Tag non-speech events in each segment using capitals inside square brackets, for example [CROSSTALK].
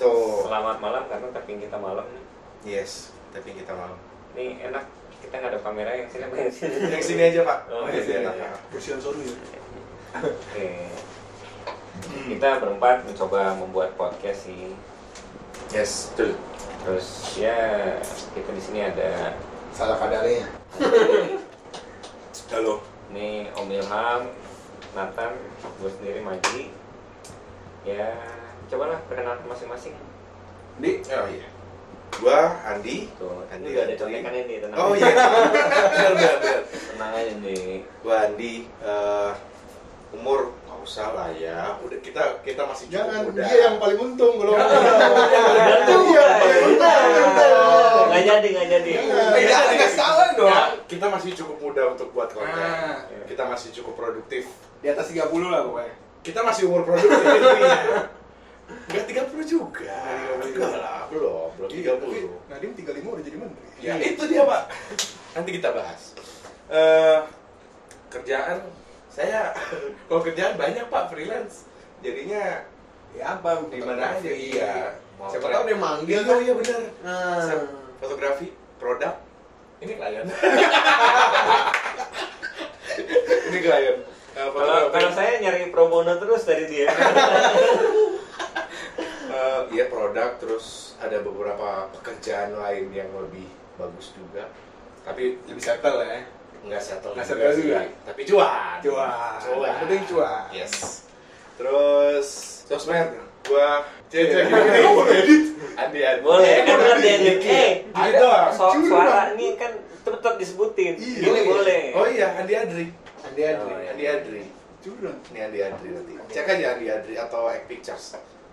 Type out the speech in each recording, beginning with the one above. selamat malam karena tapping kita malam nih. Yes, tapi kita malam. Ini enak kita nggak ada kamera ya. yang sini main sini. Yang sini aja pak. Oh, Yang sini, iya, Pak. iya. Persian Sony ya. Oke. Kita berempat mencoba membuat podcast sih. Yes. Betul. Terus ya kita di sini ada Salah ya. kadarnya. Halo. nih Om Ilham, Nathan, gue sendiri Maji. Ya cobalah perkenalan masing-masing. Di Oh iya. Gua Andi. Tuh, Andi, ini udah ada Andi. contekannya nih tenang. Oh aja. iya. Benar, benar, benar. Tenang aja nih. Gua Andi. eh, umur nggak usah lah ya. Udah kita kita masih cukup Jangan, muda. dia yang paling untung kalau gitu. Iya, Iya, paling untung. Nggak jadi, nggak jadi. Jangan. Iya, Eh, jangan, nggak salah dong. Nah. Kita masih cukup muda untuk buat konten. Ah. Nah. Kita masih cukup produktif. di atas 30 lah pokoknya. Kita masih umur produktif. [LAUGHS] intinya. Nggak 30 juga. Nggak 30 juga. Enggak lah, belum, belum Iya, 30. Nadim 35 udah jadi menteri. Ya Iya. itu dia pak. Nanti kita bahas. eh kerjaan saya [LAUGHS] kalau kerjaan banyak pak freelance. Jadinya Ya apa? di mana aja fotografi. iya. Mau Siapa trek. tahu dia manggil Iya, kan? Iya benar. Nah, Fotografi, produk. Ini klien. Ini klien. Eh, Kalau fotografi. kalau saya nyari pro bono terus dari dia. Eh, iya produk terus ada beberapa pekerjaan lain yang lebih bagus juga. Tapi lebih settle ya. nggak settle Nggak juga settle juga. sih. tapi cuan Cuan. cuan Yang penting cuan. yes terus sosmed gua Oh, Cek. Andi Andi Boleh Andi, Iya. kan bukan dia Andi. Eh, Ada dong. so- Jujur suara ini kan tetap disebutin. Iya, Ini boleh. oh Iya, iya Andi Adri Andi Adri. Oh, iya. Andi Adri Curang. ini Andi Adri nanti cek aja Andi Adri Oh, iya. atau Egg Pictures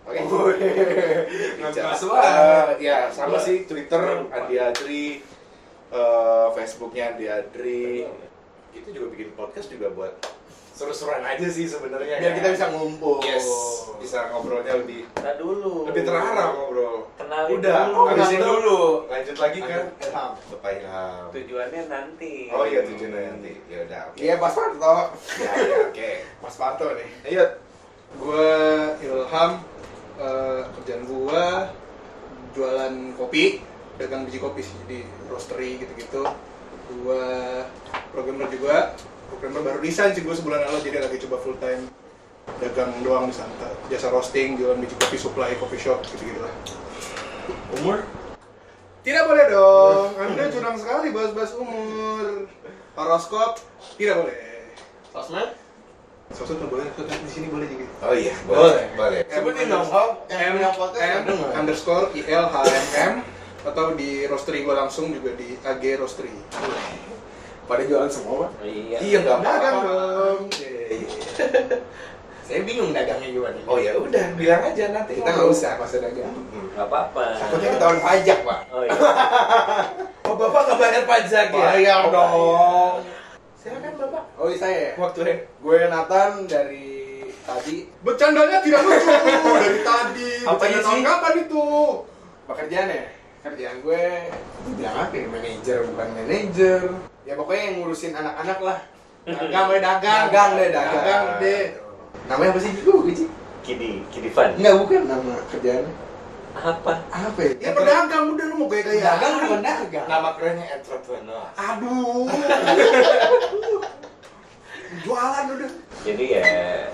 Oke, Nggak Pictures. masuk Eh, ya sama Boleh. sih Twitter Boleh. Andi Adri, eh, Facebooknya Andi Adri, itu juga bikin podcast juga buat seru-seruan aja sih sebenarnya. Biar ya. kita bisa ngumpul. Yes, bisa ngobrolnya lebih Ntar dulu. lebih terarah ngobrol. Kenalin Udah, dulu. habis kenalin itu dulu. lanjut lagi kan? Lanjut, Ilham. Bapak Ilham. Tujuannya nanti. Oh iya tujuannya nanti. Ya udah. oke. Iya, Mas Parto. Ya, ya, oke. Iya. Mas Parto nih. Ayo. Gua Ilham eh, kerjaan gua jualan kopi, dagang biji kopi sih di roastery gitu-gitu. Gua programmer juga, programmer baru resign sih gua sebulan lalu jadi lagi coba full time dagang doang di sana. Jasa roasting, jualan biji kopi, supply coffee shop gitu-gitu lah. Umur Tidak boleh dong. [LAUGHS] Anda curang sekali bahas-bahas umur. Horoskop tidak boleh. sosmed Sosok tidak boleh, sosmed di sini boleh juga. Oh iya, Boleh. boleh. Boleh. Sebutin M- dong. M- Yang punya podcast M ada nggak? underscore IL HMM atau di roastery gua langsung juga di AG roastery. pada jualan semua, Pak. Iya. Iya nggak Dagang apa-apa. dong. Saya bingung dagangnya gimana. Oh ya udah, bilang aja nanti. Kita nggak usah masa dagang. Hmm. Nggak apa-apa. Takutnya ketahuan pajak, Pak. Oh iya. Oh bapak nggak bayar pajak ya? Bayar Oh, dong. Silakan bapak. Oh, iya, saya ya. Waktu ya. Gue Nathan dari tadi Bercandanya tidak [LAUGHS] lucu dari tadi. Apa Bercanda sih? tahun kapan itu? pekerjaan ya. Kerjaan gue bilang apa ya? Manajer bukan manajer. Ya pokoknya yang ngurusin anak-anak lah. [LAUGHS] Dagang deh dagang. Dagang deh, dagang. Dagang deh. Namanya apa sih? Gue Gici. Kidi, Kidi Fan. Iya. Enggak bukan nama kerjaannya. Apa? Apa ya? Ya berdagang udah lu mau kayak kayak. Dagang bukan dagang. Nama kerennya Nah. entrepreneur. [LAUGHS] Aduh. Jualan udah. Jadi ya.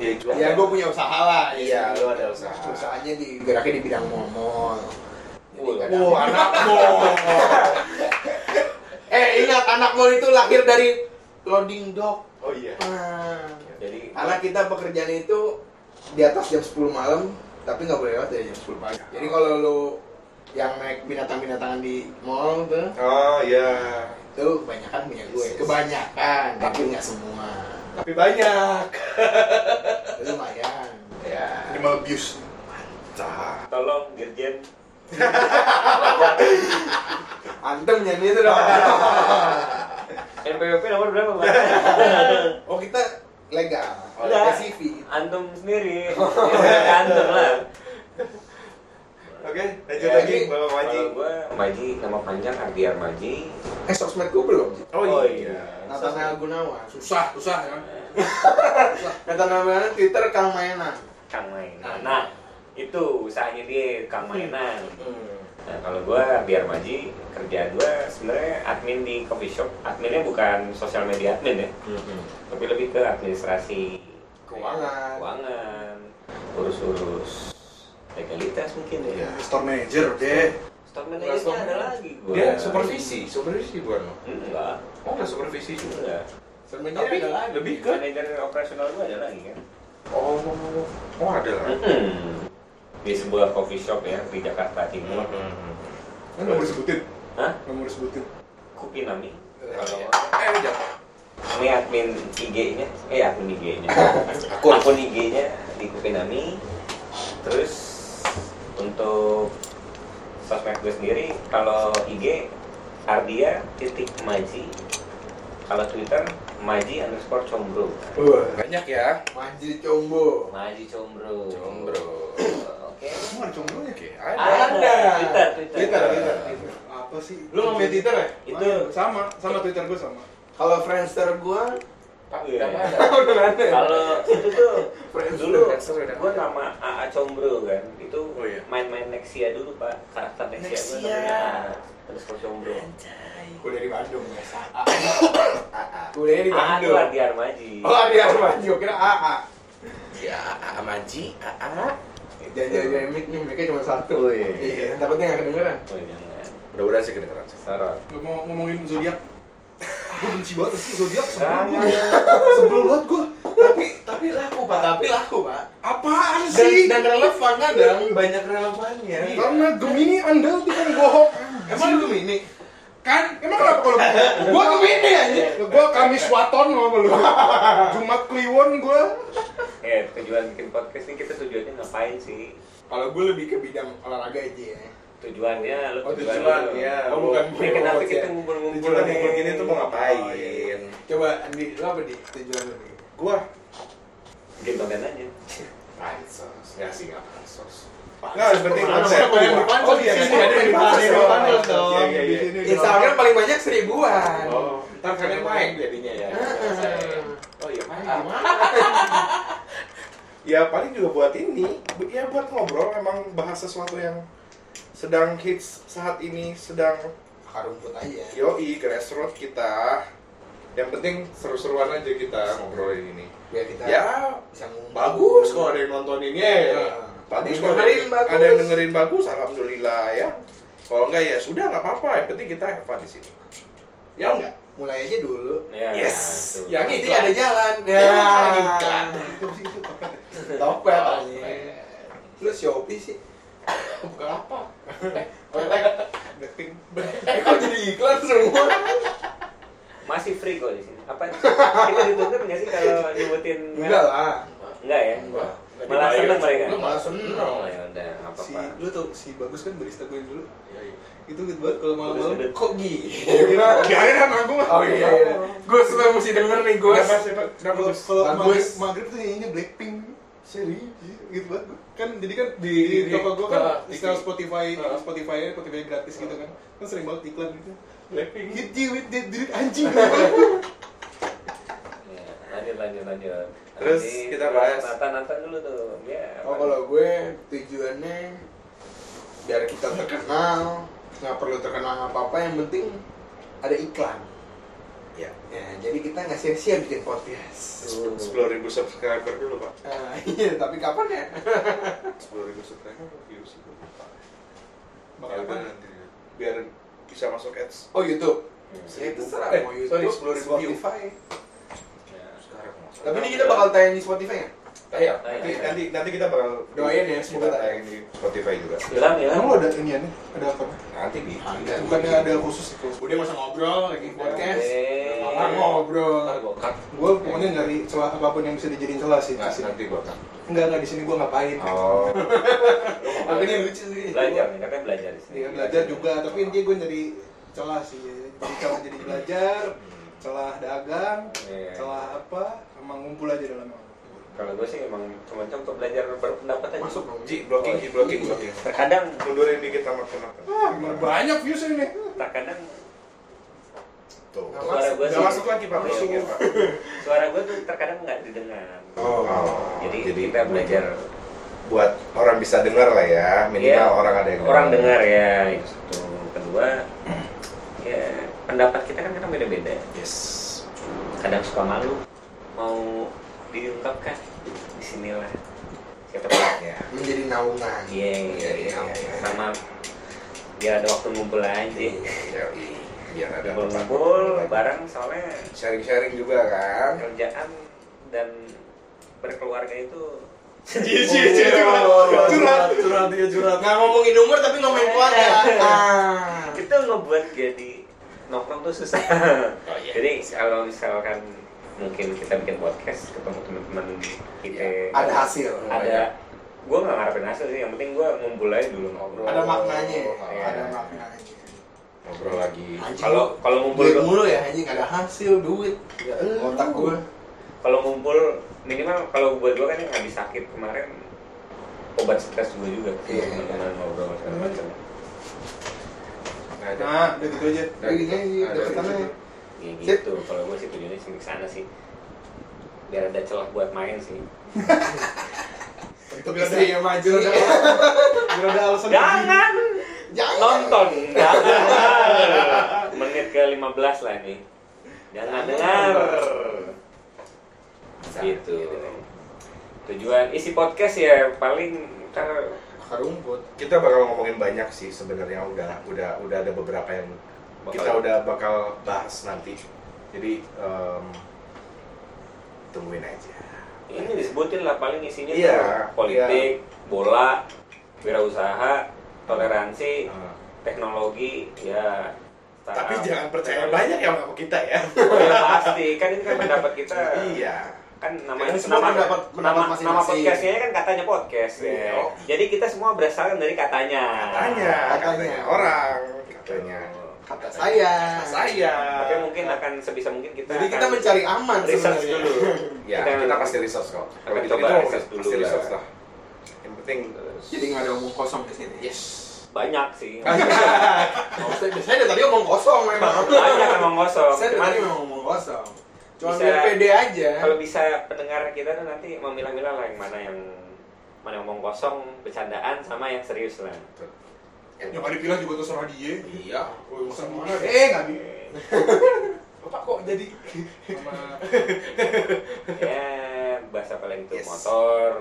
Iya jual. Ya gue punya usaha lah. Iya, lu ada usaha. Usahanya di geraknya di bidang momol. Jadi Wow. kadang- Wah, [LAUGHS] anak bohong. Eh ingat anak lo itu lahir dari loading dock. Oh iya. Ah. Jadi. Karena kita pekerjaan itu di atas jam 10 malam, tapi nggak boleh lewat dari jam 10 pagi. Jadi kalau lu yang naik binatang-binatangan di mall tuh, Oh iya. itu kebanyakan punya gue. Kebanyakan, tapi nggak semua. Tapi banyak. Itu Lumayan. Ya. Animal abuse. Mantap. Tolong Dirjen. Antem nyanyi itu dong. NPWP nomor berapa, [LAUGHS] Pak? Oh kita legal, Udah. ada CV. Antum [LAUGHS] sendiri. Ya, Antum lah. Oke, lanjut Ya, lagi ini- Bapak Waji. Kalau gue Maji nama panjang Ardiar Maji. Eh sosmed gue belum. Oh Oh, iya. iya. Nathaniel Gunawan, Susah, [LAUGHS] susah ya. Nathaniel Gunawan kan Twitter Kang Mainan. Kang Main. Nah. Nah, itu usahanya dia kang mainan Hmm. nah kalau gua biar maji kerjaan gua sebenarnya admin di coffee shop adminnya bukan sosial media admin ya tapi lebih ke administrasi Keuangan. keuangan urus-urus legalitas mungkin ya Store manager deh. Store Nggak manajernya store Iya. ada manager. lagi gua. Dia supervisi, supervisi bukan lo? Hmm, Enggak. Oh, nggak supervisi juga. Enggak. Sebenarnya Tapi ada lagi. lebih ke Manajer operasional gua ada lagi kan. oh, oh ada lah. Mm-mm. Di sebuah coffee shop ya di Jakarta Timur. Kan nggak mau disebutin. Hah? Nggak mau disebutin. Kupinami. Kalau eh jangan. Ini admin IG-nya, eh akun IG-nya. Akun. akun IG-nya di Kupinami. Terus untuk sosmed gue sendiri kalau IG Ardia titik Maji kalau Twitter Maji underscore combro Wah, Banyak ya. manjil combo. Maji combro Combro. oke Kamu ada congolnya? Oke, Ada. ada. Twitter, Twitter. Twitter, Iya, Twitter, Twitter. Apa sih? Lu nggak main Twitter eh? ya? Itu- Main. sama, sama Twitter gue sama. Kalau Friendster gua Pak, Iya. udah ada. udah nggak ada. ya? Kalau itu tuh Friends dulu Friends udah ada. gue nama AA Combro kan, itu Oh, iya. main-main Nexia dulu pak, karakter Nexia, gue Nexia. namanya AA. terus ke Combro. Gua dari Bandung guys. Kuliahnya di AA tuh Bandung. Ardi Armaji. Oh, di Armaji. Gua Kira AA. [LAUGHS] Ya, AA Manji, AA. Jangan-jangan mic nih, mic-nya cuma Oh, satu. iya. Takutnya nggak kedengeran. Oh, jangan. Mudah-mudahan sih kedengeran sih. Sorot. Gue mau ngomongin zodiak. Gue benci banget sih zodiak. [LAUGHS] Sebel Sama. gue. Sebel banget gue. Tapi tapi laku, Pak. Tapi laku, Pak. Apaan Dan, sih? dan relevan kan, kadang. banyak relevannya. Karena Gemini Anda bukan bohong. Emang lu ini? kan emang kenapa kalau gue gue Gemini aja. Gue Kamis Waton sama lu. Jumat Kliwon gue. Eh, tujuan bikin podcast ini kita tujuannya ngapain sih? Kalau gue lebih ke bidang olahraga aja ya. Tujuannya, lo Oh, tujuan, tujuan, lo. iya. Oh, bukan Ya, kenapa Bukan, kita ya. ngumpul-ngumpul Tujuan nih? ngumpul gini tuh mau Oh, ngapain? iya. Coba Andi, lo apa di tujuan lo nih? Gue Bikin konten aja. Pansos. Nggak sih, nggak pansos. Nggak, yang penting Mana konsep. mana banyak di pansos Oh, iya, di sini. Ada di iya, iya, iya, pansos. iya, iya, dong. iya, iya, iya. Di sini Instagram paling banyak seribuan. Oh, ntar kalian main jadinya ya. Heeh. Oh iya, main. Ah, Ya paling juga buat ini, bu- ya buat ngobrol emang bahas sesuatu yang sedang hits saat ini, sedang Akar rumput aja. yoi grassroots kita. Yang penting seru-seruan aja kita ngobrolin ini. Biar kita Ya bisa ngomong. bagus kalau ada yang nontoninnya ya. Iya. Bagus Ada yang kalau ada, dengerin bagus. ada yang dengerin bagus, alhamdulillah ya. Kalau enggak ya sudah nggak apa-apa, yang penting kita have fun di sini. Ya enggak? Mulai aja dulu. Ya, Yes. tuh. Ya, Yang gitu. penting ada jalan. Ya. Iklan. Topet aja. Lu Shopee sih. Bukan apa? Blackpink. Eh, kok jadi iklan semua? Masih free kok di sini. Apa kita dituntut nggak sih kalau nyebutin Enggak lah. Enggak ya? Enggak. Malah dibayar. seneng mereka. Lu malah Iya, Oh, seneng. ya udah, nggak Si apa-apa. lu tau si bagus kan barista gue yang dulu. Yoi. Itu gitu banget kalau malam-malam. Udah, udah. Kok gila? Biarin kan nanggung lah. Oh iya, iya. gue suka mesti denger nih gue. Kenapa sih, ya, Pak? Kenapa Kalau Gus? kalau Bagus. maghrib, maghrib tuh nyanyinya Blackpink. Serius gitu banget. gua. Kan jadi kan di, di Di- toko gue kan Ah, di- setelah Spotify, Ah. Spotify, Spotify gratis gitu kan. Kan sering banget iklan gitu. Blackpink. Hit you with that dude anjing. Ya, lanjut, lanjut, lanjut. Terus Nanti kita bahas. Nata, nata dulu tuh. Ya. Oh kalau gue tujuannya biar kita terkenal, nggak perlu terkenal apa apa, yang penting ada iklan. Ya. Ya, jadi kita nggak sia-sia bikin podcast. Sepuluh ribu subscriber dulu pak. Ah, [LAUGHS] iya, tapi kapan ya? Sepuluh ribu subscriber views itu. Bakal apa? nanti. Biar bisa masuk ads. Oh YouTube. Hmm. Ya, terserah Eh, mau YouTube. sorry, 10.000 view. Spotify. Ya. Sekarang. Tapi ini kita bakal tayang di Spotify ya? Iya. Nanti nanti nanti kita bakal Doain ya, semoga kita tak- tayang di Spotify juga. Ilham, Ilham. Emang lu ada iniannya? Ada apa? Nanti di. Ada. Bukannya ada khusus itu. Udah masa ngobrol lagi podcast. Eh, Malah ngobrol. Ntar gua cut. Gue pokoknya nyari celah apapun yang bisa dijadiin celah sih. Nggak, Di sini. nanti gua cut. Enggak enggak di sini gue ngapain. Nah, Oh. Tapi ini lucu sih. Belajar, nih, katanya belajar di sini. Iya belajar juga, tapi intinya gue nyari celah sih. Jadi kalau jadi belajar, celah dagang, Iya. celah apa, sama ngumpul aja dalam Kalau gue sih emang cuma contoh belajar berpendapat aja. Masuk dong. Ji, blocking, Ji, blocking, blocking. Terkadang, Mundurin dikit sama kenapa? Ah, gimana banyak views ini. terkadang Tuh. Nggak suara masuk, gue Nggak sih. masuk lagi pak. Iya, Masuk iya. pak. Suara gue tuh terkadang nggak didengar. Oh. Jadi, kita belajar buat orang bisa dengar lah ya minimal Iya. orang ada yang orang dengar ya itu satu kedua ya pendapat kita kan kadang beda-beda yes kadang suka malu mau diungkapkan disinilah kita pernah ya menjadi naungan iya Iya, iya, iya. sama dia ada waktu ngumpul aja Yoi. biar ada ngumpul-ngumpul bareng soalnya sharing-sharing juga kan kerjaan dan berkeluarga itu Iya, Iya, curhat curhat dia curhat nggak ngomongin umur tapi ngomongin keluarga ah. itu ngebuat jadi nongkrong tuh susah Oh, iya. [LAUGHS] jadi kalau misalkan mungkin kita bikin podcast ketemu teman-teman Iya. kita ada hasil ada gue nggak ngarepin hasil sih yang penting gue ngumpul aja dulu ngobrol ada maknanya Iya. ada maknanya ngobrol lagi Anjing, kalau kalau ngumpul duit mulu ya anjing ada hasil duit eh. ya otak gue kalau ngumpul minimal kalau buat gue kan yang habis sakit kemarin obat stres gue juga Iya. teman-teman ngobrol segala macam Nah, ada. nah udah gitu aja gitu, Udah gini aja, Ada. dapetannya. ya gitu kalau gue sih tujuannya sih ke sana sih biar ada celah buat main sih tapi ada yang maju ada Iya. biar ada alasan jangan jangan nonton jangan [LAUGHS] menit ke 15 lah ini jangan dengar gitu tujuan isi podcast ya paling ntar akar rumput kita bakal ngomongin banyak sih sebenarnya udah udah udah ada beberapa yang Bakal- kita udah bakal bahas nanti jadi em, tungguin aja ini disebutin lah paling isinya Iya, tuh politik bola wirausaha toleransi Eh, teknologi ya tapi startup. jangan percaya banyak yang sama kita ya Oh, ya pasti kan ini kan pendapat kita iya kan namanya Karena semua nama pendapat- pendapat nama, nama masing-masing. podcastnya kan katanya podcast Iya. ya. Jadi kita semua berasalkan dari katanya. katanya katanya Katanya. orang katanya kata saya saya Nah. Tapi mungkin akan sebisa mungkin kita jadi kita akan mencari aman research sebenarnya. dulu. ya kita- kita, pasti research kok kalau akan gitu coba kita research dulu pasti lah. research lah yang penting [LAUGHS] jadi nggak ada omong kosong di sini yes Banyak sih. Maksudnya, saya dari tadi omong kosong memang Banyak emang kosong. saya dari Cuman tadi memang omong kosong cuma Bisa- biar pede aja kalau bisa pendengar kita tuh nanti memilah-milah lah yang mana yang mana yang omong kosong, bercandaan sama yang serius [LAUGHS] lah. yang paling bilang juga terserah dia Iya. oh masa mana eh nggak bisa Bapak kok jadi sama ya bahas apa lagi tuh Yes. motor,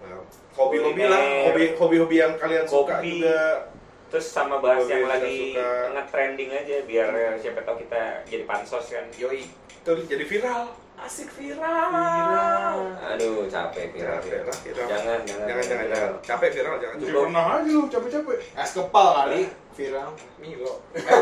Nah, hobi-hobi lah hobi hobi-hobi yang kalian suka Kopi. juga terus sama bahas Boleh, yang kita lagi suka. nge-trending aja biar siapa tahu kita jadi pansos kan yoi terus jadi viral asik viral aduh capek viral, Capek lah, viral. jangan jangan jangan jangan jangan capek viral jangan Jadi cukup pernah aja lu capek-capek es kepal kali viral Milo [LAUGHS]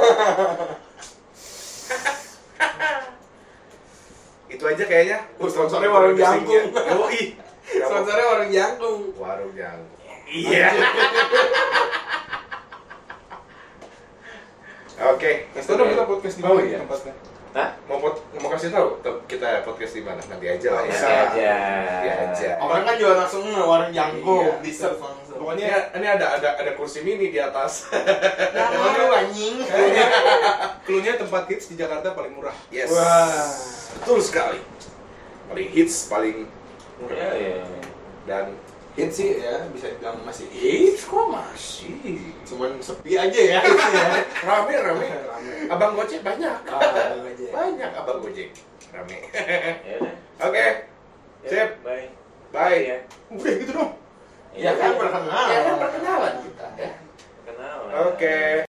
itu aja kayaknya Oh, sponsornya warung jangkung. yoi sponsornya warung jangkung warung jangkung Iya. [LAUGHS] oke Resto dong kita podcast di mana Oh, iya. tempatnya? Hah? mau pot- mau kasih tahu tem- kita podcast di mana nanti aja lah ya Nanti aja Nanti aja orang kan jual langsung nih, warung jangkung Iya. di serve langsung Pokoknya Ya, ini ada ada ada kursi mini di atas. Nah, Iya, malu, anjing Keluarnya tempat hits di Jakarta paling murah. [LAUGHS] Yes. Wah. Betul sekali. Paling hits, paling Iya, iya. dan hit sih ya bisa dibilang masih hits kok mas sih cuman sepi aja ya hitsnya ya. rame [LAUGHS] rame. Rame. Abang Gojek banyak. Ah, rame aja ya. Banyak abang Gojek. Rame. [LAUGHS] Oke. Eh, Ya udah. Ya, Sip. bye Bye. Iya, Ah. ya Udah gitu dong. ya Iya kan perkenalan Ya kan perkenalan kita ya. kenal Oke.